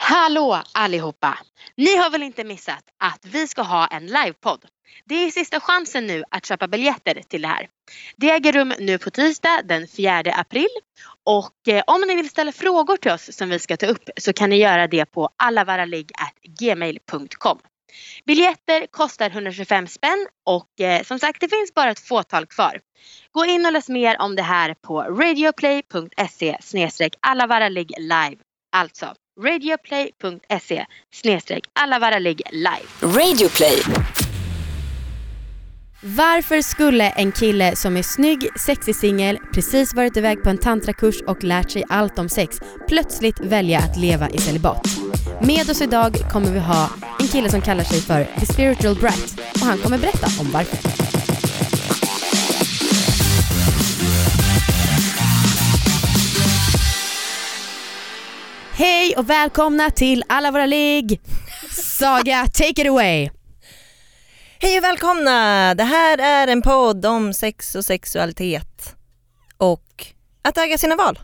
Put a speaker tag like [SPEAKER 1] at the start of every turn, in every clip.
[SPEAKER 1] Hallå allihopa! Ni har väl inte missat att vi ska ha en livepodd? Det är sista chansen nu att köpa biljetter till det här. Det äger rum nu på tisdag den 4 april och eh, om ni vill ställa frågor till oss som vi ska ta upp så kan ni göra det på allavaraligg@gmail.com. Biljetter kostar 125 spänn och eh, som sagt det finns bara ett fåtal kvar. Gå in och läs mer om det här på radioplay.se allavaraligg live. Alltså radioplay.se allavaraligg live.
[SPEAKER 2] Radioplay.
[SPEAKER 3] Varför skulle en kille som är snygg, sexig singel, precis varit iväg på en tantrakurs och lärt sig allt om sex plötsligt välja att leva i celibat? Med oss idag kommer vi ha en kille som kallar sig för The Spiritual Brat och han kommer berätta om varför. Hej och välkomna till alla våra ligg! Saga, take it away!
[SPEAKER 4] Hej och välkomna! Det här är en podd om sex och sexualitet och att äga sina val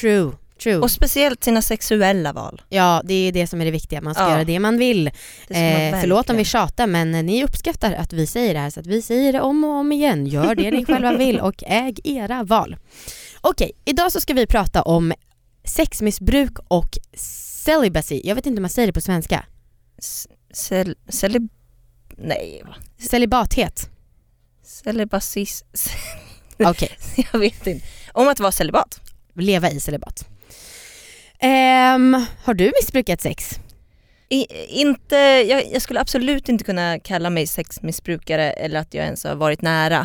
[SPEAKER 3] True, true.
[SPEAKER 4] och speciellt sina sexuella val.
[SPEAKER 3] Ja, det är det som är det viktiga. Man ska
[SPEAKER 4] Ja.
[SPEAKER 3] göra det man vill.
[SPEAKER 4] Det ska man
[SPEAKER 3] eh, förlåt om vi
[SPEAKER 4] verkligen-
[SPEAKER 3] tjatar men eh, ni uppskattar att vi säger det här så att vi säger det om och om igen. Gör det ni själva vill och äg era val. Okej, idag så ska vi prata om sexmissbruk och celibacy. Jag vet inte hur man säger det på svenska.
[SPEAKER 4] S- Cel... Celib... Nej, va?
[SPEAKER 3] Celibathet.
[SPEAKER 4] celibasis...
[SPEAKER 3] Okej,
[SPEAKER 4] Jag vet inte. Om att vara celibat.
[SPEAKER 3] leva i celibat. Ehm, har du missbrukat sex?
[SPEAKER 4] I, inte, jag, jag skulle absolut inte kunna kalla mig sexmissbrukare eller att jag ens har varit nära.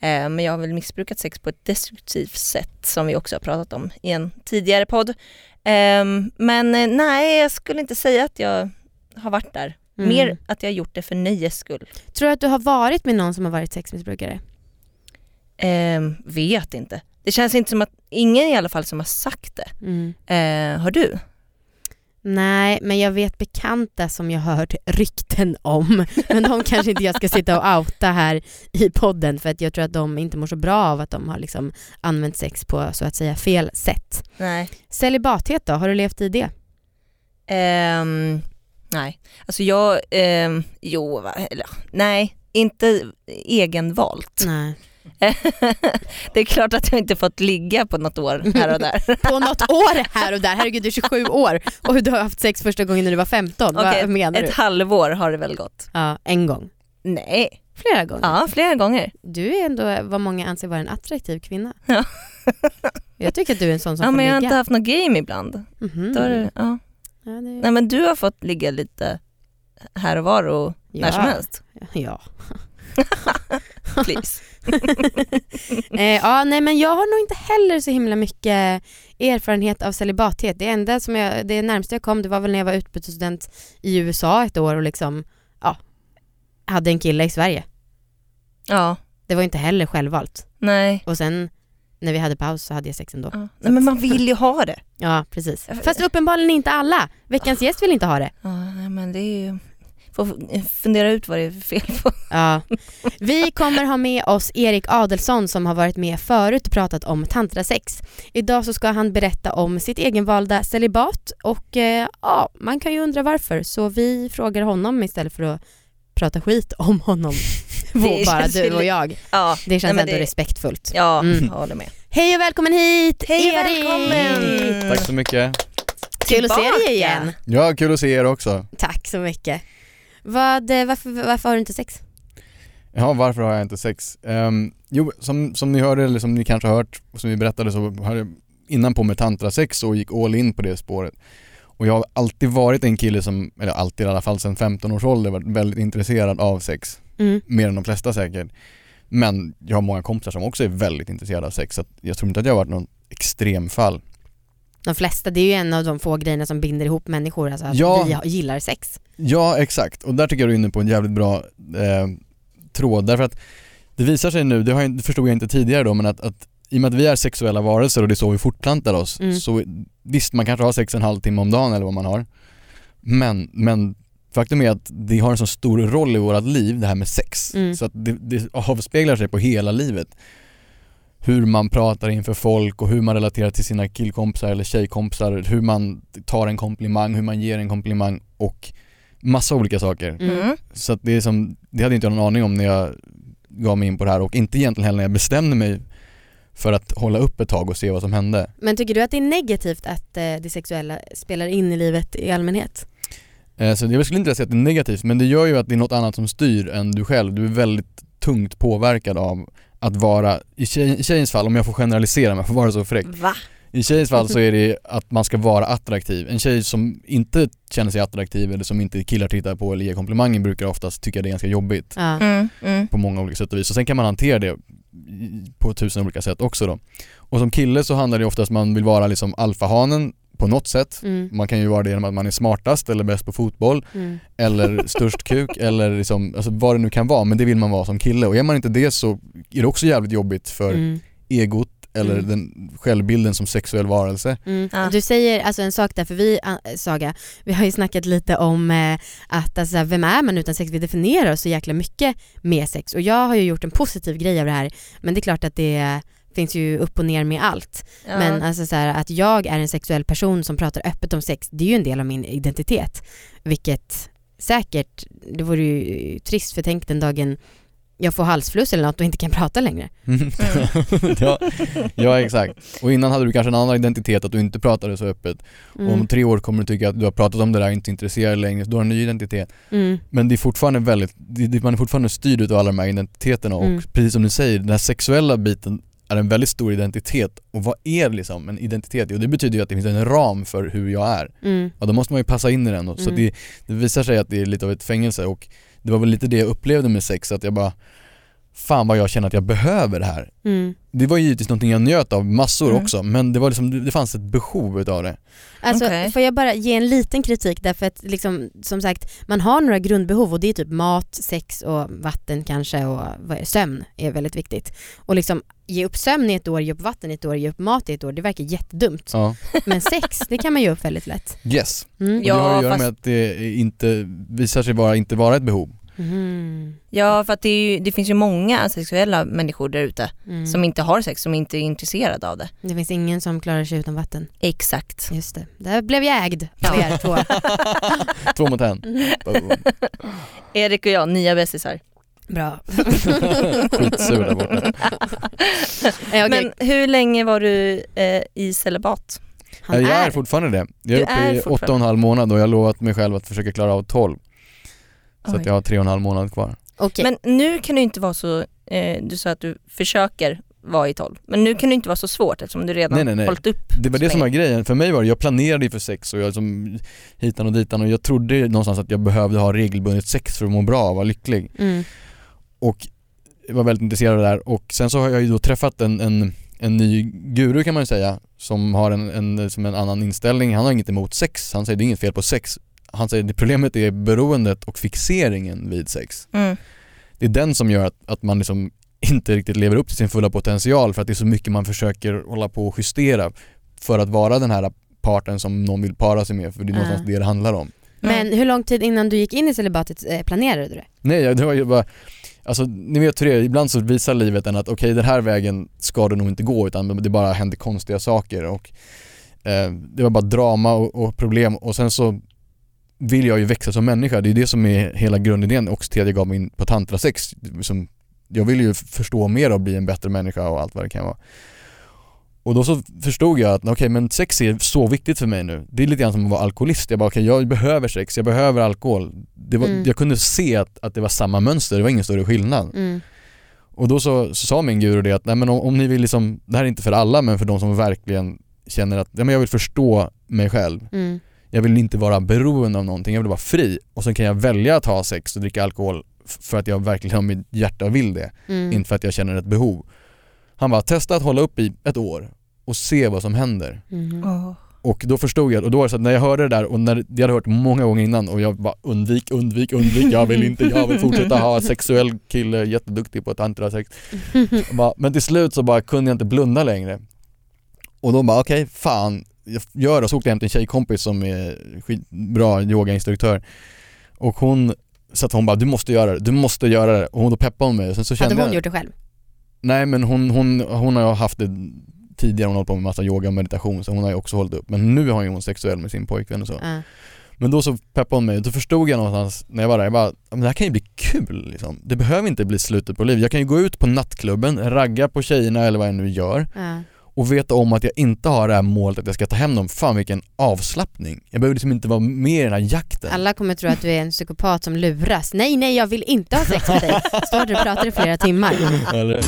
[SPEAKER 4] Eh, men jag har väl missbrukat sex på ett destruktivt sätt som vi också har pratat om i en tidigare podd. Eh, men eh, nej, jag skulle inte säga att jag har varit där.
[SPEAKER 3] Mm.
[SPEAKER 4] Mer att jag har gjort det för nöjes skull.
[SPEAKER 3] Tror du att du har varit med någon som har varit sexmissbrukare?
[SPEAKER 4] Eh, vet inte. Det känns inte som att, ingen i alla fall som har sagt det.
[SPEAKER 3] Mm.
[SPEAKER 4] Eh, har du?
[SPEAKER 3] Nej, men jag vet bekanta som jag hört rykten om. Men de kanske inte jag ska sitta och outa här i podden för att jag tror att de inte mår så bra av att de har liksom använt sex på så att säga fel sätt.
[SPEAKER 4] Nej.
[SPEAKER 3] Celibathet då, har du levt i det?
[SPEAKER 4] Ehm, nej, alltså jag, ehm, jo, va, eller, nej, inte egenvalt.
[SPEAKER 3] Nej.
[SPEAKER 4] det är klart att jag inte fått ligga på något år här och där.
[SPEAKER 3] På något år här och där, herregud du är 27 år och du har haft sex första gången när du var 15,
[SPEAKER 4] Okej,
[SPEAKER 3] vad menar du?
[SPEAKER 4] Ett halvår har det väl gått?
[SPEAKER 3] Ja, en gång.
[SPEAKER 4] Nej,
[SPEAKER 3] Flera gånger.
[SPEAKER 4] ja flera gånger.
[SPEAKER 3] Du är ändå vad många anser vara en attraktiv kvinna.
[SPEAKER 4] Ja.
[SPEAKER 3] Jag tycker att du är en sån som
[SPEAKER 4] Ja,
[SPEAKER 3] får
[SPEAKER 4] men jag har
[SPEAKER 3] ligga.
[SPEAKER 4] inte haft något game ibland.
[SPEAKER 3] Mhm.
[SPEAKER 4] Då har det, ja.
[SPEAKER 3] Ja, det är-
[SPEAKER 4] Nej, men du har fått ligga lite här och var och när som
[SPEAKER 3] Ja.
[SPEAKER 4] helst.
[SPEAKER 3] Ja.
[SPEAKER 4] Please.
[SPEAKER 3] Eh, ja, nej men jag har nog inte heller så himla mycket erfarenhet av celibathet. Det enda som jag, det närmaste jag kom det var väl när jag var utbytesstudent i USA ett år och liksom, ja, hade en kille i Sverige.
[SPEAKER 4] ja,
[SPEAKER 3] Det var inte heller självvalt.
[SPEAKER 4] nej.
[SPEAKER 3] Och sen när vi hade paus så hade jag sex ändå.
[SPEAKER 4] Ja. nej. Men man vill ju ha det.
[SPEAKER 3] Ja, precis. Fast uppenbarligen inte alla. Veckans gäst vill inte ha det.
[SPEAKER 4] Ja, nej, men det är ju... Får fundera ut vad det är för fel på.
[SPEAKER 3] Ja. Vi kommer ha med oss Erik Adelsson som har varit med förut och pratat om tantrasex. Idag så ska han berätta om sitt egenvalda celibat och eh, ja, man kan ju undra varför så vi frågar honom istället för att prata skit om honom.
[SPEAKER 4] Det
[SPEAKER 3] Bara
[SPEAKER 4] känns
[SPEAKER 3] du och
[SPEAKER 4] ju-
[SPEAKER 3] jag.
[SPEAKER 4] Ja,
[SPEAKER 3] Det känns
[SPEAKER 4] Nej, men
[SPEAKER 3] ändå
[SPEAKER 4] det-
[SPEAKER 3] respektfullt.
[SPEAKER 4] ja
[SPEAKER 3] Mm.
[SPEAKER 4] jag håller med.
[SPEAKER 3] Hej och välkommen hit
[SPEAKER 4] Hej och
[SPEAKER 3] Erik!
[SPEAKER 4] välkommen!
[SPEAKER 5] Tack så mycket.
[SPEAKER 3] Kul att se
[SPEAKER 4] Tillbaka.
[SPEAKER 3] dig igen.
[SPEAKER 5] Ja, kul att se er också.
[SPEAKER 3] Tack så mycket. Vad, eh, varför, varför har du inte sex?
[SPEAKER 5] Ja, varför har jag inte sex? Ehm, jo, som, som ni hörde, eller som ni kanske har hört, och som vi berättade så har jag innan på med tantrasex och gick all in på det spåret. Och jag har alltid varit en kille som, eller alltid i alla fall sedan 15 års ålder, varit väldigt intresserad av sex.
[SPEAKER 3] Mm.
[SPEAKER 5] Mer än de flesta säkert. Men jag har många kompisar som också är väldigt intresserade av sex, så att jag tror inte att jag har varit någon extremfall.
[SPEAKER 3] De flesta, det är ju en av de få grejerna som binder ihop människor, alltså att
[SPEAKER 5] Ja.
[SPEAKER 3] vi ha- gillar sex.
[SPEAKER 5] Ja, exakt. Och där tycker jag du är inne på en jävligt bra eh, tråd. Därför att det visar sig nu, det, har jag, det förstod jag inte tidigare då, men att, att i och med att vi är sexuella varelser och det är så vi fortplantar oss,
[SPEAKER 3] Mm.
[SPEAKER 5] så visst man kanske har sex en halvtimme om dagen eller vad man har. Men, men faktum är att det har en så stor roll i vårt liv, det här med sex.
[SPEAKER 3] Mm.
[SPEAKER 5] Så att det, det avspeglar sig på hela livet. hur man pratar inför folk och hur man relaterar till sina killkompisar eller tjejkompisar, hur man tar en komplimang, hur man ger en komplimang och massa olika saker.
[SPEAKER 3] Mm.
[SPEAKER 4] Mm.
[SPEAKER 5] Så att det, är som, det hade inte jag någon aning om när jag gav mig in på det här och inte egentligen heller när jag bestämde mig för att hålla upp ett tag och se vad som hände.
[SPEAKER 3] Men tycker du att det är negativt att eh, det sexuella spelar in i livet i allmänhet?
[SPEAKER 5] Eh, Så jag skulle inte säga att det är negativt men det gör ju att det är något annat som styr än du själv. Du är väldigt tungt påverkad av att vara, i tjej, i tjejens fall, om jag får generalisera om jag får vara så fräck.
[SPEAKER 4] Va?
[SPEAKER 5] I tjejens
[SPEAKER 3] Mm.
[SPEAKER 5] fall så är det att man ska vara attraktiv. En tjej som inte känner sig attraktiv eller som inte killar tittar på eller ger komplimanger brukar oftast tycka det är ganska jobbigt.
[SPEAKER 3] Ja.
[SPEAKER 4] Mm. Mm.
[SPEAKER 5] på många olika sätt och vis. Och sen kan man hantera det i- på tusen olika sätt också då. Och som kille så handlar det oftast om att man vill vara liksom alfahanen på något sätt.
[SPEAKER 3] Mm.
[SPEAKER 5] Man kan ju vara det genom att man är smartast eller bäst på fotboll
[SPEAKER 3] Mm.
[SPEAKER 5] eller störst kuk eller liksom, alltså vad det nu kan vara men det vill man vara som kille och är man inte det så är det också jävligt jobbigt för
[SPEAKER 3] Mm.
[SPEAKER 5] egot eller
[SPEAKER 3] Mm.
[SPEAKER 5] den självbilden som sexuell varelse.
[SPEAKER 3] Mm.
[SPEAKER 4] Ja.
[SPEAKER 3] Du säger alltså en sak där, för vi, ah, Saga, vi har ju snackat lite om eh, att alltså, vem är man utan sex? Vi definierar oss så jäkla mycket med sex och jag har ju gjort en positiv grej av det här men det är klart att det eh, finns ju upp och ner med allt.
[SPEAKER 4] Ja.
[SPEAKER 3] Men alltså så här, att jag är en sexuell person som pratar öppet om sex, det är ju en del av min identitet. Vilket säkert, det vore ju trist för tänk den dagen jag får halsfluss eller något och inte kan prata längre.
[SPEAKER 5] Mm.
[SPEAKER 3] äh,
[SPEAKER 5] ja, ja exakt. Och innan hade du kanske en annan identitet att du inte pratade så öppet
[SPEAKER 3] Mm.
[SPEAKER 5] Och om tre år kommer du tycka att du har pratat om det där och inte är intresserad längre, så du har en ny identitet.
[SPEAKER 3] Mm.
[SPEAKER 5] Men det är fortfarande väldigt, det, det, man är fortfarande styrd utav alla de här identiteterna och
[SPEAKER 3] Mm.
[SPEAKER 5] precis som du säger, den här sexuella biten är en väldigt stor identitet. Och vad är liksom en identitet? Jo det betyder ju att det finns en ram för hur jag är.
[SPEAKER 3] Mm.
[SPEAKER 5] Och då måste man ju passa in i den och, så
[SPEAKER 3] Mm.
[SPEAKER 5] det, det visar sig att det är lite av ett fängelse och det var väl lite det jag upplevde med sex, att jag bara Fan vad jag känner att jag behöver det här.
[SPEAKER 3] Mm.
[SPEAKER 5] Det var ju givetvis någonting jag njöt av massor
[SPEAKER 4] Mm.
[SPEAKER 5] också men det var liksom, det- det fanns ett behov utav det.
[SPEAKER 3] Alltså,
[SPEAKER 4] Okej.
[SPEAKER 3] Får jag bara ge en liten kritik därför att liksom, som sagt man har några grundbehov och det är typ mat, sex och vatten kanske och vad är det, sömn är väldigt viktigt. Och liksom ge upp sömn i ett år, ge upp vatten i ett år, ge upp mat i ett år, det verkar jättedumt.
[SPEAKER 5] Ja.
[SPEAKER 3] Men sex, det kan man ge upp väldigt lätt.
[SPEAKER 5] Yes.
[SPEAKER 3] Mm.
[SPEAKER 5] Och det har att
[SPEAKER 4] Ja,
[SPEAKER 5] göra
[SPEAKER 4] fast-
[SPEAKER 5] med att det inte visar sig vara, inte vara ett behov.
[SPEAKER 3] Mm.
[SPEAKER 4] Ja, för att det, är ju, det finns ju många sexuella människor där ute
[SPEAKER 3] Mm.
[SPEAKER 4] som inte har sex, som inte är intresserade av det.
[SPEAKER 3] Det finns ingen som klarar sig utan vatten.
[SPEAKER 4] Exakt.
[SPEAKER 3] Just det, där blev jag ägd av
[SPEAKER 4] Ja.
[SPEAKER 3] er två.
[SPEAKER 5] Två mot en. Boom.
[SPEAKER 4] Erik och jag, nya bästisar.
[SPEAKER 3] Bra.
[SPEAKER 5] Skitsur där borta.
[SPEAKER 3] Eh, okej.
[SPEAKER 4] Men hur länge var du eh, i celibat?
[SPEAKER 3] Han
[SPEAKER 5] jag är
[SPEAKER 3] är.
[SPEAKER 5] fortfarande det. Jag är
[SPEAKER 4] Du
[SPEAKER 5] uppe
[SPEAKER 4] är
[SPEAKER 5] i
[SPEAKER 4] fortfarande-
[SPEAKER 5] åtta och en halv månad och jag har lovat mig själv att försöka klara av tolv. Så
[SPEAKER 4] Oj.
[SPEAKER 5] att jag har tre och en halv månad kvar.
[SPEAKER 3] Okej.
[SPEAKER 4] Men nu kan det ju inte vara så, eh, du sa att du försöker vara i tolv, men nu kan det ju inte vara så svårt eftersom du redan
[SPEAKER 5] Nej, nej, nej.
[SPEAKER 4] hållit upp.
[SPEAKER 5] Det var det som var grejen. För mig var det, jag planerade ju för sex och jag liksom hitan och ditan och jag trodde någonstans att jag behövde ha regelbundet sex för att må bra och vara lycklig.
[SPEAKER 3] Mm.
[SPEAKER 5] och var väldigt intresserad av det där och sen så har jag ju då träffat en, en, en ny guru kan man ju säga som har en, en, som en annan inställning. Han har inget emot sex, han säger det är inget fel på sex. Han säger det problemet är beroendet och fixeringen vid sex.
[SPEAKER 4] Mm.
[SPEAKER 5] Det är den som gör att, att man liksom inte riktigt lever upp till sin fulla potential för att det är så mycket man försöker hålla på och justera för att vara den här parten som någon vill para sig med för det är
[SPEAKER 3] Ah.
[SPEAKER 5] någonstans det det handlar om.
[SPEAKER 3] Men hur lång tid innan du gick in i celibatet eh, planerade du det?
[SPEAKER 5] Nej, jag- det var ju bara, alltså ni vet hur det är, ibland så visar livet en att okej den här vägen ska du nog inte gå utan det bara händer konstiga saker och eh, det var bara drama och, och problem och sen så vill jag ju växa som människa, det är det som är hela grundidén också till att jag gav mig in på tantrasex. Som, jag vill ju f- förstå mer och bli en bättre människa och allt vad det kan vara. Och då så förstod jag att okej men sex är så viktigt för mig nu. Det är lite grann som att vara alkoholist. Jag bara okej jag behöver sex, jag behöver alkohol. Det var,
[SPEAKER 3] Mm.
[SPEAKER 5] Jag kunde se att, att det var samma mönster, det var ingen större skillnad.
[SPEAKER 3] Mm.
[SPEAKER 5] Och då så, så sa min guru det att nej men om, om ni vill liksom, det här är inte för alla men för de som verkligen känner att ja, men jag vill förstå mig själv.
[SPEAKER 3] Mm.
[SPEAKER 5] Jag vill inte vara beroende av någonting, jag vill vara fri. Och sen kan jag välja att ha sex och dricka alkohol f- för att jag verkligen av mitt hjärta vill det,
[SPEAKER 3] Mm.
[SPEAKER 5] inte för att jag känner ett behov. Han bara, testa att hålla upp i ett år och se vad som händer.
[SPEAKER 3] Mhm.
[SPEAKER 4] Åh.
[SPEAKER 5] Och då förstod jag, och då var det så att när jag hörde det där och när, jag hade hört många gånger innan och jag bara undvik, undvik, undvik, jag vill inte, jag vill fortsätta ha sexuell kille, jätteduktig på tantrasex. Bara, Men till slut så bara kunde jag inte blunda längre. Och då bara okej, fan, jag gör det. Så åkte jag hem till en tjejkompis som är skitbra yogainstruktör och hon sa att hon bara du måste göra det, du måste göra det. Och hon då peppade hon mig och sen så kände
[SPEAKER 3] Hade
[SPEAKER 5] jag
[SPEAKER 3] hon gjort det själv?
[SPEAKER 5] Nej men hon, hon, hon har ju haft det tidigare, hon har hållit på med massa yoga och meditation så hon har ju också hållit upp. Men nu har ju hon sexuell med sin pojkvän och så.
[SPEAKER 3] Ja.
[SPEAKER 5] Men då så peppade hon mig, då förstod jag någonstans när jag var där, jag bara, men det här kan ju bli kul liksom. Det behöver inte bli slutet på livet. Jag kan ju gå ut på nattklubben, ragga på tjejerna eller vad jag nu gör
[SPEAKER 3] Ja.
[SPEAKER 5] och veta om att jag inte har det här målet att jag ska ta hem dem. Fan vilken avslappning. Jag behöver liksom inte vara med i den här jakten.
[SPEAKER 3] Alla kommer tro att du är en psykopat som luras. Nej, nej, jag vill inte ha sex med dig. Står du och pratar i flera timmar.
[SPEAKER 5] Eller?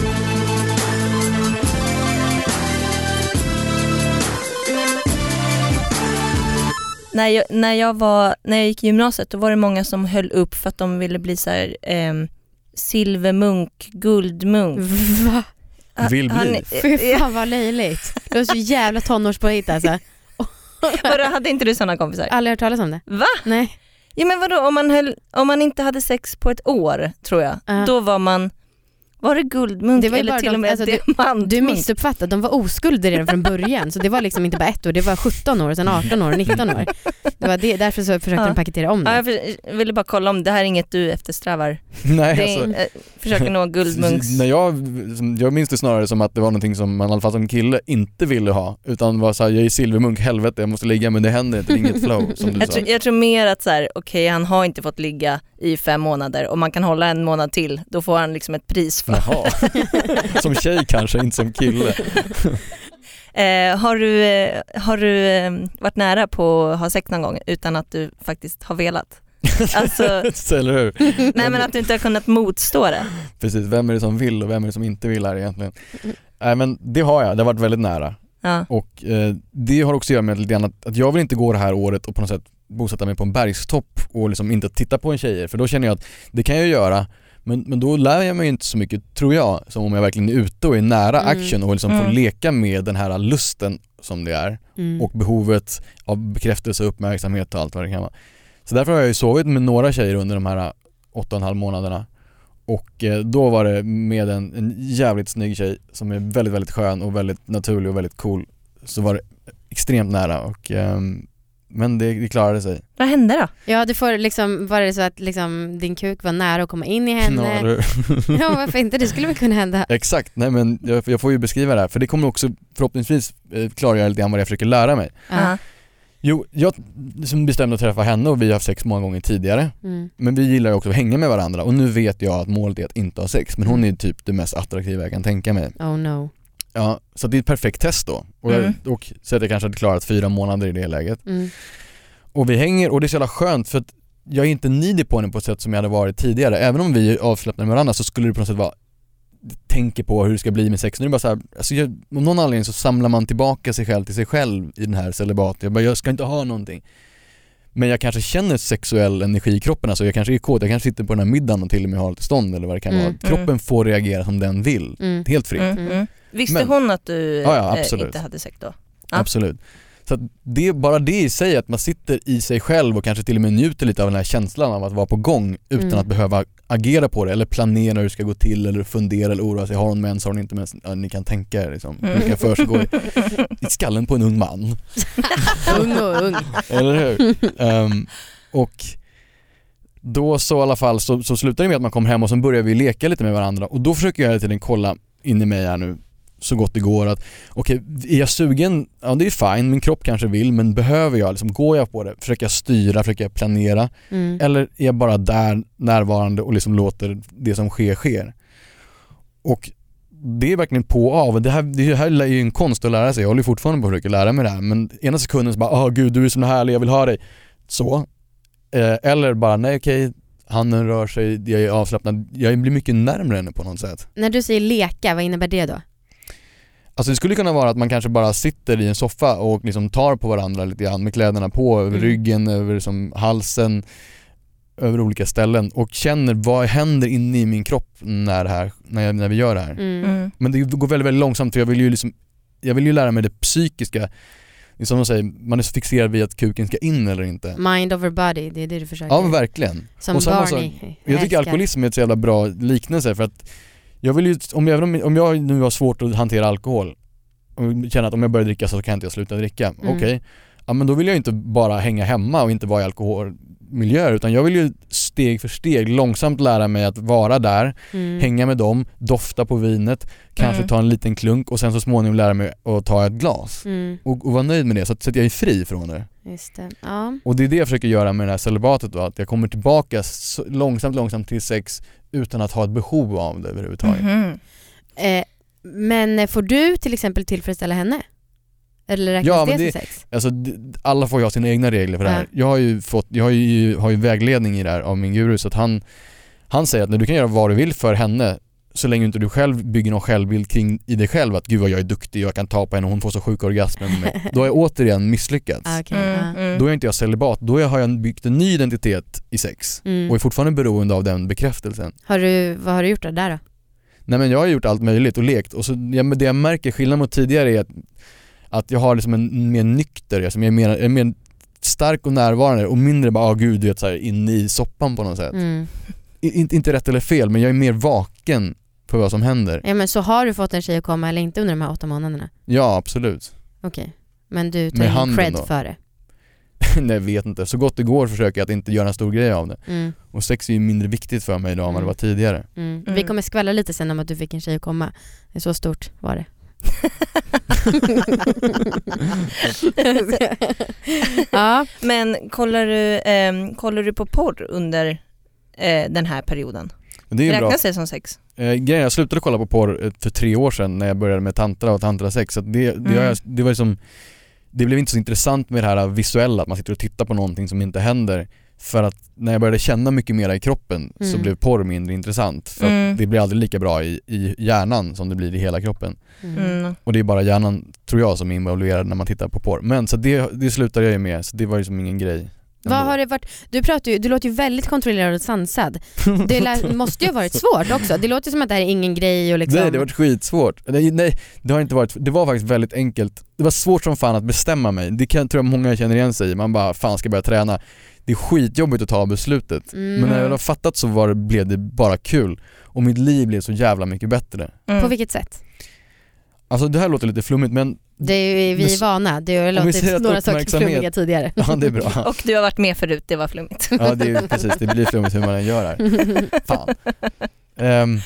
[SPEAKER 4] När jag, när, jag var, när jag gick i gymnasiet då var det många som höll upp för att de ville bli så här, ehm, silvermunk, guldmunk.
[SPEAKER 3] Va?
[SPEAKER 5] Vill bli.
[SPEAKER 3] Mm. Fy fan vad löjligt. Det var så jävla tonårspåhitt alltså.
[SPEAKER 4] Vadå, hade inte du sådana kompisar?
[SPEAKER 3] Aldrig hört talas om det.
[SPEAKER 4] Va?
[SPEAKER 3] Nej.
[SPEAKER 4] Ja men vadå, om man, höll, om man inte hade sex på ett år tror jag,
[SPEAKER 3] Ja.
[SPEAKER 4] då var man, var det guldmunk
[SPEAKER 3] Det var ju
[SPEAKER 4] eller
[SPEAKER 3] bara
[SPEAKER 4] till
[SPEAKER 3] de-
[SPEAKER 4] och med
[SPEAKER 3] alltså, du-
[SPEAKER 4] diamantmunk?
[SPEAKER 3] Du missuppfattade, de var oskulder redan från början. Så det var liksom inte bara ett år, det var 17 år, sen 18 år, 19 år. Det var det, därför så försökte
[SPEAKER 4] Ja.
[SPEAKER 3] de paketera om
[SPEAKER 5] Mm.
[SPEAKER 4] Ja,
[SPEAKER 3] det.
[SPEAKER 4] jag för- jag ville bara kolla om det här är inget du eftersträvar.
[SPEAKER 5] Nej
[SPEAKER 4] Det
[SPEAKER 5] alltså.
[SPEAKER 4] är, eh, försöker nå guldmunks...
[SPEAKER 5] När jag, jag minns det snarare som att det var någonting som man i alla fall som kille inte ville ha utan var såhär, jag är silvermunk, helvete jag måste ligga men det händer inte, det är inget flow som du
[SPEAKER 4] Jag
[SPEAKER 5] sa.
[SPEAKER 4] tror, jag tror mer att så här, okej han har inte fått ligga i fem månader och man kan hålla en månad till, då får han liksom ett pris för.
[SPEAKER 5] Jaha. Som tjej kanske, inte som kille.
[SPEAKER 4] Eh, har du, eh, har du eh, varit nära på att ha sex någon gång utan att du faktiskt har velat? Alltså,
[SPEAKER 5] Så, Eller hur?
[SPEAKER 4] nej men att du inte har kunnat motstå det.
[SPEAKER 5] Precis, vem är det som vill och vem är det som inte vill här egentligen? Nej men det har jag, det har varit väldigt nära.
[SPEAKER 4] Ja.
[SPEAKER 5] Och eh, det har också att göra med lite grann att, att jag vill inte gå det här året och på något sätt bosätta mig på en bergstopp och liksom inte titta på en tjejer för då känner jag att det kan jag göra men, men då lär jag mig inte så mycket tror jag som om jag verkligen är ute och är nära
[SPEAKER 3] Mm.
[SPEAKER 5] action och liksom får
[SPEAKER 4] Mm.
[SPEAKER 5] leka med den här lusten som det är
[SPEAKER 3] Mm.
[SPEAKER 5] och behovet av bekräftelse, uppmärksamhet och allt vad det kan vara. Så därför har jag ju sovit med några tjejer under de här äh, åtta och en halv månaderna och eh, då var det med en, en jävligt snygg tjej som är väldigt, väldigt skön och väldigt naturlig och väldigt cool så var det extremt nära och ehm, men det, det klarade sig.
[SPEAKER 4] Vad hände då?
[SPEAKER 3] Ja, du får liksom, var det så att liksom din kuk var nära att komma in i
[SPEAKER 5] Ja,
[SPEAKER 3] henne?
[SPEAKER 5] eller hur?
[SPEAKER 3] Ja, varför inte? Det skulle väl kunna hända.
[SPEAKER 5] Exakt, nej men jag, jag får ju beskriva det här för det kommer också förhoppningsvis eh, klargöra lite grann vad jag försöker lära mig.
[SPEAKER 3] Ja.
[SPEAKER 4] Ja.
[SPEAKER 5] Jo, jag liksom bestämde att träffa henne och vi har haft sex många gånger tidigare
[SPEAKER 3] Mm.
[SPEAKER 5] Men vi gillar ju också att hänga med varandra och nu vet jag att målet är att inte ha sex men hon är ju typ det mest attraktiva jag kan tänka mig.
[SPEAKER 3] Oh no.
[SPEAKER 5] Ja, så det är ett perfekt test då. Och,
[SPEAKER 4] Mm.
[SPEAKER 5] jag, och så att jag kanske hade klarat fyra månader i det läget.
[SPEAKER 3] Mm.
[SPEAKER 5] Och vi hänger och det är så jävla skönt för att jag är inte needy på henne på ett sätt som jag hade varit tidigare. Även om vi är avslappnade med varandra så skulle det på något sätt vara tänker på hur det ska bli med sex. Nu är det bara så här, alltså jag, av någon anledning så samlar man tillbaka sig själv till sig själv i den här celibaten. Jag bara, jag ska inte ha någonting. Men jag kanske känner sexuell energi i kroppen, alltså jag kanske är kåt, jag kanske sitter på den här middagen och till och med har lite stånd eller vad det kan
[SPEAKER 3] Mm.
[SPEAKER 5] vara. Kroppen
[SPEAKER 4] Mm.
[SPEAKER 5] får reagera som den vill,
[SPEAKER 3] Mm.
[SPEAKER 5] helt fritt.
[SPEAKER 4] Mm,
[SPEAKER 3] Mm.
[SPEAKER 4] mm. Visste
[SPEAKER 5] Men-
[SPEAKER 4] hon att du
[SPEAKER 5] Ja, ja,
[SPEAKER 4] eh,
[SPEAKER 5] absolut.
[SPEAKER 4] inte hade sex då? Ja.
[SPEAKER 5] Absolut. Så att det, bara det i sig, att man sitter i sig själv och kanske till och med njuter lite av den här känslan av att vara på gång utan
[SPEAKER 3] Mm.
[SPEAKER 5] att behöva agera på det eller planera hur det ska gå till eller fundera eller oroa sig. Har hon mens, har hon inte mens? Ja, ni kan tänka er liksom.
[SPEAKER 4] Mm.
[SPEAKER 5] Det kan försiggå i, i skallen på en ung man.
[SPEAKER 3] Ung och ung.
[SPEAKER 5] Eller hur? Ehm, och då så i alla fall så, så slutar det med att man kommer hem och sen börjar vi leka lite med varandra och då försöker jag hela tiden kolla in i mig här nu så gott det går att okej, är jag sugen? Ja det är fine, min kropp kanske vill men behöver jag liksom, går jag på det? Försöker jag styra, försöker jag planera?
[SPEAKER 3] Mm.
[SPEAKER 5] Eller är jag bara där närvarande och liksom låter det som sker sker? Och det är verkligen på och av. Det här, det här är ju en konst att lära sig. Jag håller ju fortfarande på att försöka lära mig det här men ena sekunden så bara ”Åh gud, du är så härlig, jag vill ha dig”. Så. Eh, eller bara ”Nej okej, handen rör sig, jag är avslappnad”. Jag blir mycket närmare henne på något sätt.
[SPEAKER 3] När du säger leka, vad innebär det då?
[SPEAKER 5] Alltså det skulle kunna vara att man kanske bara sitter i en soffa och liksom tar på varandra lite grann med kläderna på, över
[SPEAKER 3] Mm.
[SPEAKER 5] ryggen, över liksom halsen, över olika ställen och känner vad händer inne i min kropp när, det här, när, jag, när vi gör det här.
[SPEAKER 3] Mm.
[SPEAKER 4] Mm.
[SPEAKER 5] Men det går väldigt, väldigt långsamt för jag vill ju, liksom, jag vill ju lära mig det psykiska. Det är Som de säger, man är så fixerad vid att kuken ska in eller inte.
[SPEAKER 3] Mind over body, det är det du försöker.
[SPEAKER 5] Ja men verkligen.
[SPEAKER 3] Som
[SPEAKER 5] och samma
[SPEAKER 3] Barney.
[SPEAKER 5] Jag tycker
[SPEAKER 3] älskar.
[SPEAKER 5] alkoholism är ett så jävla bra liknelse för att jag vill ju, om jag, även om- om jag nu har svårt att hantera alkohol och känner att om jag börjar dricka så kan inte jag sluta dricka.
[SPEAKER 3] Mm.
[SPEAKER 5] Okej, ja men då vill jag ju inte bara hänga hemma och inte vara i alkoholmiljöer utan jag vill ju steg för steg långsamt lära mig att vara där,
[SPEAKER 3] Mm.
[SPEAKER 5] hänga med dem, dofta på vinet, kanske
[SPEAKER 4] Mm.
[SPEAKER 5] ta en liten klunk och sen så småningom lära mig att ta ett glas.
[SPEAKER 3] Mm,
[SPEAKER 5] Och, och vara nöjd med det så att, så att jag är fri från det.
[SPEAKER 3] just det. Ja.
[SPEAKER 5] Och det är det jag försöker göra med det här celibatet då, att jag kommer tillbaka så, långsamt, långsamt till sex utan att ha ett behov av det överhuvudtaget.
[SPEAKER 4] Mhm.
[SPEAKER 3] Eh, men eh, får du till exempel tillfredsställa henne? Eller räknas
[SPEAKER 5] Ja,
[SPEAKER 3] det
[SPEAKER 5] men
[SPEAKER 3] som
[SPEAKER 5] det-
[SPEAKER 3] sex?
[SPEAKER 5] Alltså, d- alla får ju ha sina egna regler för det här.
[SPEAKER 3] Ja.
[SPEAKER 5] Jag, har ju fått, jag har, ju, har ju vägledning i det här av min guru så att han, han säger att när du kan göra vad du vill för henne så länge inte du själv bygger någon självbild kring i dig själv att gud vad jag är duktig, jag kan ta på henne och hon får så sjuka orgasmer med mig. Då har jag återigen misslyckats.
[SPEAKER 3] Ah, okej,
[SPEAKER 4] Mm,
[SPEAKER 3] ja.
[SPEAKER 4] mm.
[SPEAKER 5] Då är inte jag celibat, då har jag byggt en ny identitet i sex och är
[SPEAKER 3] mm.
[SPEAKER 5] fortfarande beroende av den bekräftelsen.
[SPEAKER 3] har du, vad har du gjort då, där då?
[SPEAKER 5] Nej men jag har gjort allt möjligt och lekt och så, ja, men det jag märker skillnad mot tidigare är att, att jag har liksom en mer nykter, alltså, jag, är mer, jag är mer stark och närvarande och mindre bara, ah gud du vet såhär inne i soppan på något sätt.
[SPEAKER 3] Mm.
[SPEAKER 5] I, inte, inte rätt eller fel men jag är mer vaken för vad som händer.
[SPEAKER 3] Ja, men så har du fått en tjej att komma eller inte under de här åtta månaderna?
[SPEAKER 5] Ja absolut.
[SPEAKER 3] Okej, men du
[SPEAKER 5] Med
[SPEAKER 3] tar ingen
[SPEAKER 5] handen
[SPEAKER 3] cred
[SPEAKER 5] då?
[SPEAKER 3] för det?
[SPEAKER 5] Nej jag vet inte, så gott det går försöker jag att inte göra en stor grej av det.
[SPEAKER 3] Mm.
[SPEAKER 5] Och sex är ju mindre viktigt för mig idag än vad det var tidigare.
[SPEAKER 3] Mm. Vi
[SPEAKER 4] Mm.
[SPEAKER 3] kommer skvallra lite sen om att du fick en tjej att komma. Så stort var det. ja,
[SPEAKER 4] Men kollar du, ehm, kollar du på porr under eh, den här perioden?
[SPEAKER 5] Men Det är ju bra.
[SPEAKER 4] Räknas det som sex?
[SPEAKER 5] Eh, grejen, är, jag slutade kolla på porr eh, för tre år sedan när jag började med tantra och tantrasex. Så att det, det,
[SPEAKER 3] Mm.
[SPEAKER 5] har jag, det var liksom, det blev inte så intressant med det här visuella, att man sitter och tittar på någonting som inte händer. För att när jag började känna mycket mer i kroppen så
[SPEAKER 3] Mm.
[SPEAKER 5] blev porr mindre intressant. För att
[SPEAKER 4] Mm.
[SPEAKER 5] det blir aldrig lika bra i, i hjärnan som det blir i hela kroppen.
[SPEAKER 3] mm.
[SPEAKER 4] Mm.
[SPEAKER 5] Och det är bara hjärnan, tror jag, som är involverad när man tittar på porr. Men så det, det slutade jag ju med, så det var ju som ingen grej.
[SPEAKER 3] Vad
[SPEAKER 5] ändå.
[SPEAKER 3] har det varit? Du, pratar ju, du låter ju väldigt kontrollerad och sansad. Det lä- måste ju ha varit svårt också. Det låter som att det här är ingen grej och liksom...
[SPEAKER 5] Nej det har varit skitsvårt. Nej, nej det har inte varit, det var faktiskt väldigt enkelt. Det var svårt som fan att bestämma mig. Det kan, tror jag många känner igen sig i. Man bara, fan ska jag börja träna? Det är skitjobbigt att ta beslutet.
[SPEAKER 3] Mm.
[SPEAKER 5] Men när jag väl har fattat så var det, blev det bara kul. Och mitt liv blev så jävla mycket bättre.
[SPEAKER 4] Mm.
[SPEAKER 3] På vilket sätt?
[SPEAKER 5] Alltså det här låter lite flummigt men,
[SPEAKER 3] Det är ju, vi
[SPEAKER 5] Men
[SPEAKER 3] är
[SPEAKER 5] så-
[SPEAKER 3] vana. Det har
[SPEAKER 5] vi säger
[SPEAKER 3] låtit
[SPEAKER 5] att
[SPEAKER 3] några saker
[SPEAKER 5] uppmärksamhet-
[SPEAKER 3] flummiga tidigare.
[SPEAKER 5] ja det är bra.
[SPEAKER 4] Och du har varit med förut, det var flummigt.
[SPEAKER 5] Ja det är precis, det blir flummigt hur man än gör här. Fan. Ehm,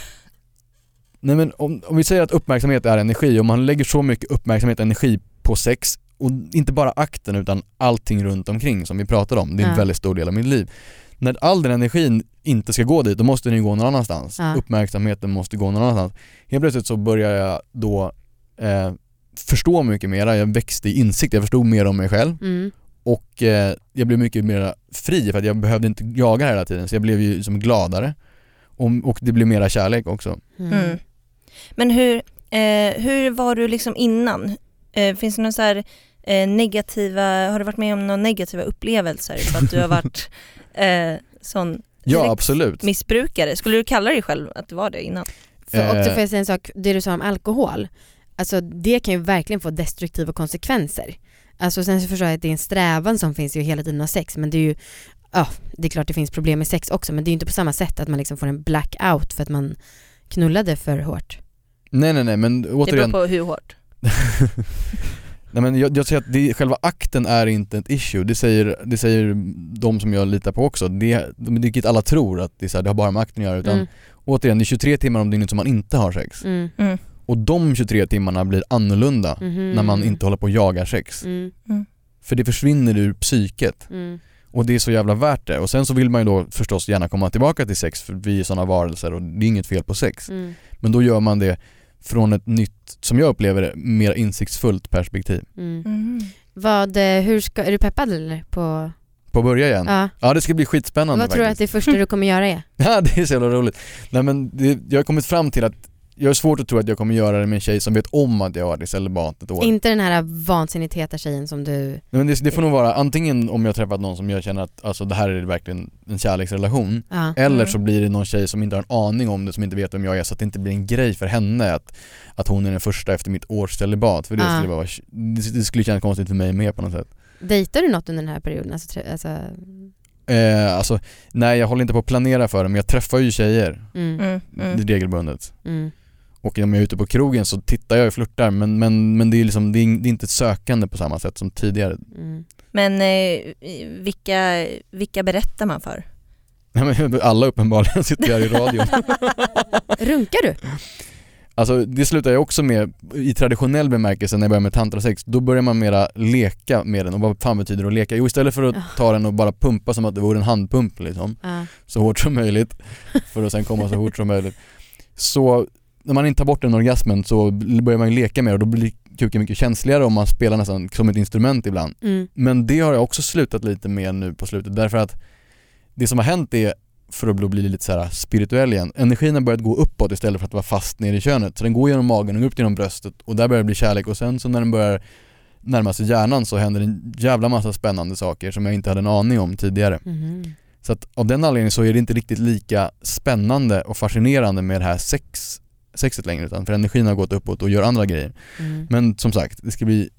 [SPEAKER 5] nej men om, om vi säger att uppmärksamhet är energi, om man lägger så mycket uppmärksamhet och energi på sex och inte bara akten utan allting runt omkring som vi pratade om, det är en
[SPEAKER 3] Ja.
[SPEAKER 5] väldigt stor del av mitt liv. När all den energin inte ska gå dit, då måste den ju gå någon annanstans.
[SPEAKER 3] Ja.
[SPEAKER 5] Uppmärksamheten måste gå någon annanstans. Helt plötsligt så börjar jag då eh, förstå mycket mer, jag växte i insikt, jag förstod mer om mig själv
[SPEAKER 3] Mm.
[SPEAKER 5] och eh, jag blev mycket mer fri för att jag behövde inte jaga hela tiden så jag blev ju som gladare och, och det blev mera kärlek också.
[SPEAKER 3] Mm.
[SPEAKER 4] Mm. Men hur, eh, hur var du liksom innan? Eh, finns det några så här, eh, negativa, har du varit med om några negativa upplevelser för att du har varit eh, sån
[SPEAKER 5] Ja
[SPEAKER 4] Direkt
[SPEAKER 5] absolut.
[SPEAKER 4] missbrukare? Skulle du kalla dig själv att du var det innan?
[SPEAKER 3] För också
[SPEAKER 5] Eh.
[SPEAKER 3] får jag säga en sak, det du sa om alkohol, alltså det kan ju verkligen få destruktiva konsekvenser. Alltså sen så förstår jag att det är en strävan som finns ju hela tiden av sex men det är ju, ja det är klart det finns problem med sex också men det är ju inte på samma sätt att man liksom får en blackout för att man knullade för hårt.
[SPEAKER 5] Nej nej nej men
[SPEAKER 4] Det beror
[SPEAKER 5] återigen,
[SPEAKER 4] på hur hårt.
[SPEAKER 5] nej, men jag, jag säger att det, själva akten är inte ett issue, det säger, det säger de som jag litar på också, det, vilket alla tror att det, är så här, det har bara med akten att göra utan
[SPEAKER 3] Mm,
[SPEAKER 5] återigen det är 23 timmar om dygnet som man inte har sex
[SPEAKER 3] mm,
[SPEAKER 4] Mm.
[SPEAKER 5] och de 23 timmarna blir annorlunda
[SPEAKER 3] mhm.
[SPEAKER 5] när man inte håller på och jagar sex
[SPEAKER 3] Mm,
[SPEAKER 5] för det försvinner ur psyket.
[SPEAKER 3] mm,
[SPEAKER 5] Och det är så jävla värt det. Och sen så vill man ju då förstås gärna komma tillbaka till sex för vi är sådana varelser och det är inget fel på sex.
[SPEAKER 3] mm,
[SPEAKER 5] Men då gör man det från ett nytt, som jag upplever det, mer insiktsfullt perspektiv.
[SPEAKER 3] mm.
[SPEAKER 4] Mm.
[SPEAKER 3] Vad, eh, hur ska, är du peppad eller? På,
[SPEAKER 5] På att börja igen. Ja,
[SPEAKER 3] ja.
[SPEAKER 5] det ska bli
[SPEAKER 3] Vad
[SPEAKER 5] skitspännande
[SPEAKER 3] tror du att
[SPEAKER 5] faktiskt.
[SPEAKER 3] det första du kommer göra är?
[SPEAKER 5] Ja, det är så jävla roligt. Nej men det, jag har kommit fram till att jag har svårt att tro att jag kommer göra det med en tjej som vet om att jag har varit i celibat ett år.
[SPEAKER 3] Inte den här vansinnigt heta tjejen som du,
[SPEAKER 5] Nej, men det, det får nog vara antingen om jag träffat någon som jag känner att alltså, det här är verkligen en kärleksrelation
[SPEAKER 3] ja.
[SPEAKER 5] Eller
[SPEAKER 4] Mm.
[SPEAKER 5] så blir det någon tjej som inte har en aning om det, som inte vet vem jag är, så att det inte blir en grej för henne att, att hon är den första efter mitt års celibat. För det,
[SPEAKER 3] Ah.
[SPEAKER 5] skulle vara, det, det skulle kännas konstigt för mig med på något sätt.
[SPEAKER 3] Dejtar du något under den här perioden? Alltså, tre- alltså,
[SPEAKER 5] Eh, alltså, nej jag håller inte på att planera för det, men jag träffar ju tjejer
[SPEAKER 3] mm,
[SPEAKER 4] Mm. Mm.
[SPEAKER 5] regelbundet.
[SPEAKER 3] mm,
[SPEAKER 5] Och om jag är ute på krogen så tittar jag och flörtar, men, men, men det, är liksom, det, är, det är inte ett sökande på samma sätt som tidigare.
[SPEAKER 3] mm.
[SPEAKER 4] Men eh, vilka, vilka berättar man för?
[SPEAKER 5] Nej, men Alla uppenbarligen sitter här i radion.
[SPEAKER 3] Runkar du?
[SPEAKER 5] Alltså det slutar jag också med, i traditionell bemärkelse när jag börjar med tantrasex, då börjar man mera leka med den och vad fan betyder det att leka? Jo istället för att ta den och bara pumpa som att det vore en handpump liksom,
[SPEAKER 3] Ja.
[SPEAKER 5] så hårt som möjligt för att sen komma så hårt som möjligt. Så när man inte tar bort den orgasmen så börjar man leka med det och då blir kuken mycket känsligare om man spelar nästan som ett instrument ibland.
[SPEAKER 3] Mm.
[SPEAKER 5] Men det har jag också slutat lite med nu på slutet därför att det som har hänt är, för att då bli lite så här spirituell igen, energin har börjat gå uppåt istället för att vara fast ner i könet. Så den går genom magen och upp genom bröstet och där börjar det bli kärlek och sen så när den börjar närma sig hjärnan så händer en jävla massa spännande saker som jag inte hade en aning om tidigare.
[SPEAKER 3] Mhm.
[SPEAKER 5] Så att av den anledningen så är det inte riktigt lika spännande och fascinerande med det här sex, sexet längre utan för energin har gått uppåt och gör andra grejer.
[SPEAKER 3] Mm.
[SPEAKER 5] Men som sagt, det ska bli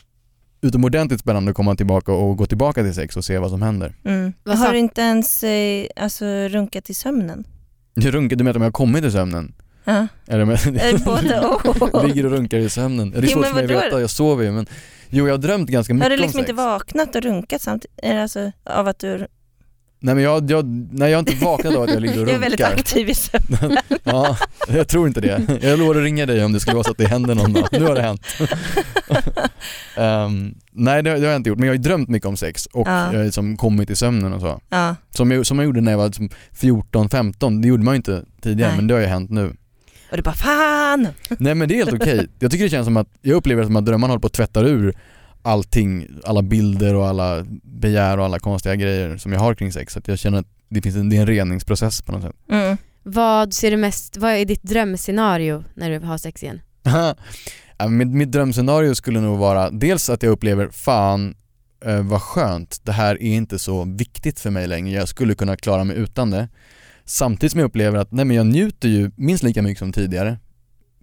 [SPEAKER 5] utomordentligt spännande att komma tillbaka och gå tillbaka till sex och se vad som händer.
[SPEAKER 4] Mm. Jag
[SPEAKER 3] Vad sa-
[SPEAKER 4] har inte ens eh, alltså, runkat i sömnen.
[SPEAKER 5] Du runkar, du menar om jag har kommit i sömnen?
[SPEAKER 4] Ja.
[SPEAKER 5] Eller men,
[SPEAKER 4] Eh, Både och.
[SPEAKER 5] ligger och runkar i sömnen. Det är
[SPEAKER 4] Jo,
[SPEAKER 5] svårt
[SPEAKER 4] men
[SPEAKER 5] för mig att
[SPEAKER 4] vadå?
[SPEAKER 5] veta, jag sover ju men Jo jag har drömt ganska mycket
[SPEAKER 4] Har du
[SPEAKER 5] om
[SPEAKER 4] liksom
[SPEAKER 5] sex.
[SPEAKER 4] inte vaknat och runkat samtidigt? Eller Alltså, av att du...
[SPEAKER 5] Nej men jag, jag, nej, jag har inte vaknat av att jag ligger och
[SPEAKER 4] Du är väldigt
[SPEAKER 5] runkar.
[SPEAKER 4] aktiv i sömnen.
[SPEAKER 5] ja, jag tror inte det. Jag lovar att ringa dig om det skulle vara så att det händer någon dag. Nu har det hänt. Ehm, nej det, har- det har jag inte gjort men jag har ju drömt mycket om sex och
[SPEAKER 4] Ja.
[SPEAKER 5] jag har liksom kommit i sömnen och så.
[SPEAKER 4] Ja.
[SPEAKER 5] Som jag, som jag gjorde när jag var liksom 14-15, det gjorde man ju inte tidigare
[SPEAKER 4] Nej.
[SPEAKER 5] men det har ju hänt nu.
[SPEAKER 4] Och du bara fan!
[SPEAKER 5] Nej men det är helt okej. Jag tycker det känns som att, jag upplever det som att drömmarna håller på att tvätta ur allting, alla bilder och alla begär och alla konstiga grejer som jag har kring sex. Så att jag känner att det finns en, det är en reningsprocess på något sätt.
[SPEAKER 4] Mm.
[SPEAKER 3] Vad ser du mest, vad är ditt drömscenario när du har sex igen?
[SPEAKER 5] Ja, mitt, mitt drömscenario skulle nog vara dels att jag upplever fan eh, vad skönt, det här är inte så viktigt för mig längre, jag skulle kunna klara mig utan det. Samtidigt som jag upplever att nej men jag njuter ju minst lika mycket som tidigare.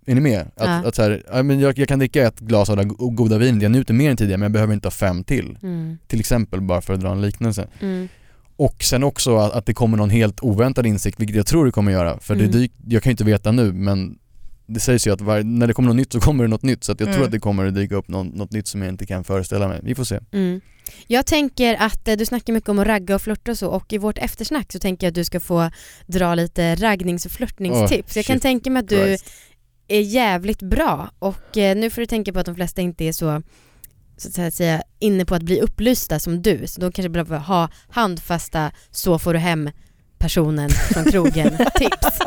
[SPEAKER 5] Är ni med? Att,
[SPEAKER 3] Ja.
[SPEAKER 5] att så här, ja, men jag, jag kan dricka ett glas av det go- goda vinet, jag njuter mer än tidigare men jag behöver inte ha fem till.
[SPEAKER 3] Mm.
[SPEAKER 5] Till exempel bara för att dra en liknelse.
[SPEAKER 3] Mm.
[SPEAKER 5] Och sen också att, att det kommer någon helt oväntad insikt, vilket jag tror det kommer göra. För
[SPEAKER 3] Mm.
[SPEAKER 5] det dyk, jag kan ju inte veta nu men det sägs ju att var, när det kommer något nytt så kommer det något nytt. Så att jag
[SPEAKER 4] Mm.
[SPEAKER 5] tror att det kommer att dyka upp någon, något nytt som jag inte kan föreställa mig. Vi får se.
[SPEAKER 3] Mm. Jag tänker att eh, du snackar mycket om att ragga och flirta och så och i vårt eftersnack så tänker jag att du ska få dra lite raggnings och flörtningstips.
[SPEAKER 5] Åh,
[SPEAKER 3] jag kan
[SPEAKER 5] shit
[SPEAKER 3] tänka mig att du
[SPEAKER 5] Christ.
[SPEAKER 3] är jävligt bra och eh, nu får du tänka på att de flesta inte är så så att säga- säga inne på att bli upplysta som du. Så de kanske behöver ha handfasta så får du hem personen från krogen tips.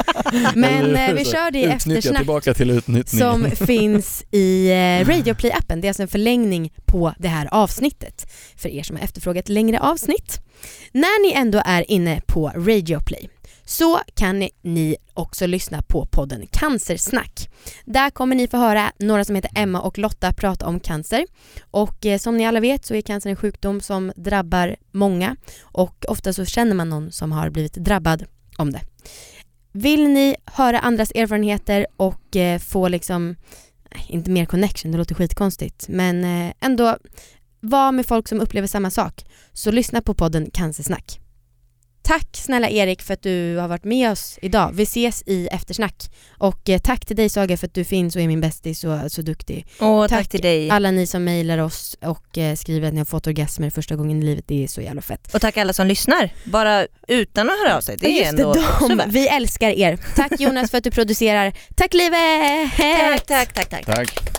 [SPEAKER 3] Men eh, vi kör det i
[SPEAKER 5] Utnyttja
[SPEAKER 3] eftersnack
[SPEAKER 5] tillbaka till utnyttningen.
[SPEAKER 3] som finns i eh, Radioplay-appen. Det är alltså en förlängning på det här avsnittet för er som har efterfrågat längre avsnitt. När ni ändå är inne på Radioplay så kan ni- ni också lyssna på podden Cancersnack. Där kommer ni få höra några som heter Emma och Lotta prata om cancer. Och eh, som ni alla vet så är cancer en sjukdom som drabbar många och ofta så känner man någon som har blivit drabbad om det. Vill ni höra andras erfarenheter och eh, få liksom, nej, inte mer connection, det låter skitkonstigt, men eh, ändå vara med folk som upplever samma sak. Så lyssna på podden Cancersnack. Tack snälla Erik för att du har varit med oss idag. Vi ses i eftersnack. Och eh, tack till dig Saga för att du finns och är min bästis och är så duktig.
[SPEAKER 4] Och tack,
[SPEAKER 3] Tack.
[SPEAKER 4] till dig.
[SPEAKER 3] Alla ni som mejlar oss och eh, skriver att ni har fått orgasmer första gången i livet, det är så jävla fett.
[SPEAKER 4] Och tack alla som lyssnar. Bara utan att höra av sig. Det är
[SPEAKER 3] Just
[SPEAKER 4] ändå också
[SPEAKER 3] dem.
[SPEAKER 4] värt.
[SPEAKER 3] Vi älskar er. Tack Jonas för att du producerar. Tack livet!
[SPEAKER 4] Tack, tack, tack, tack.
[SPEAKER 5] Tack.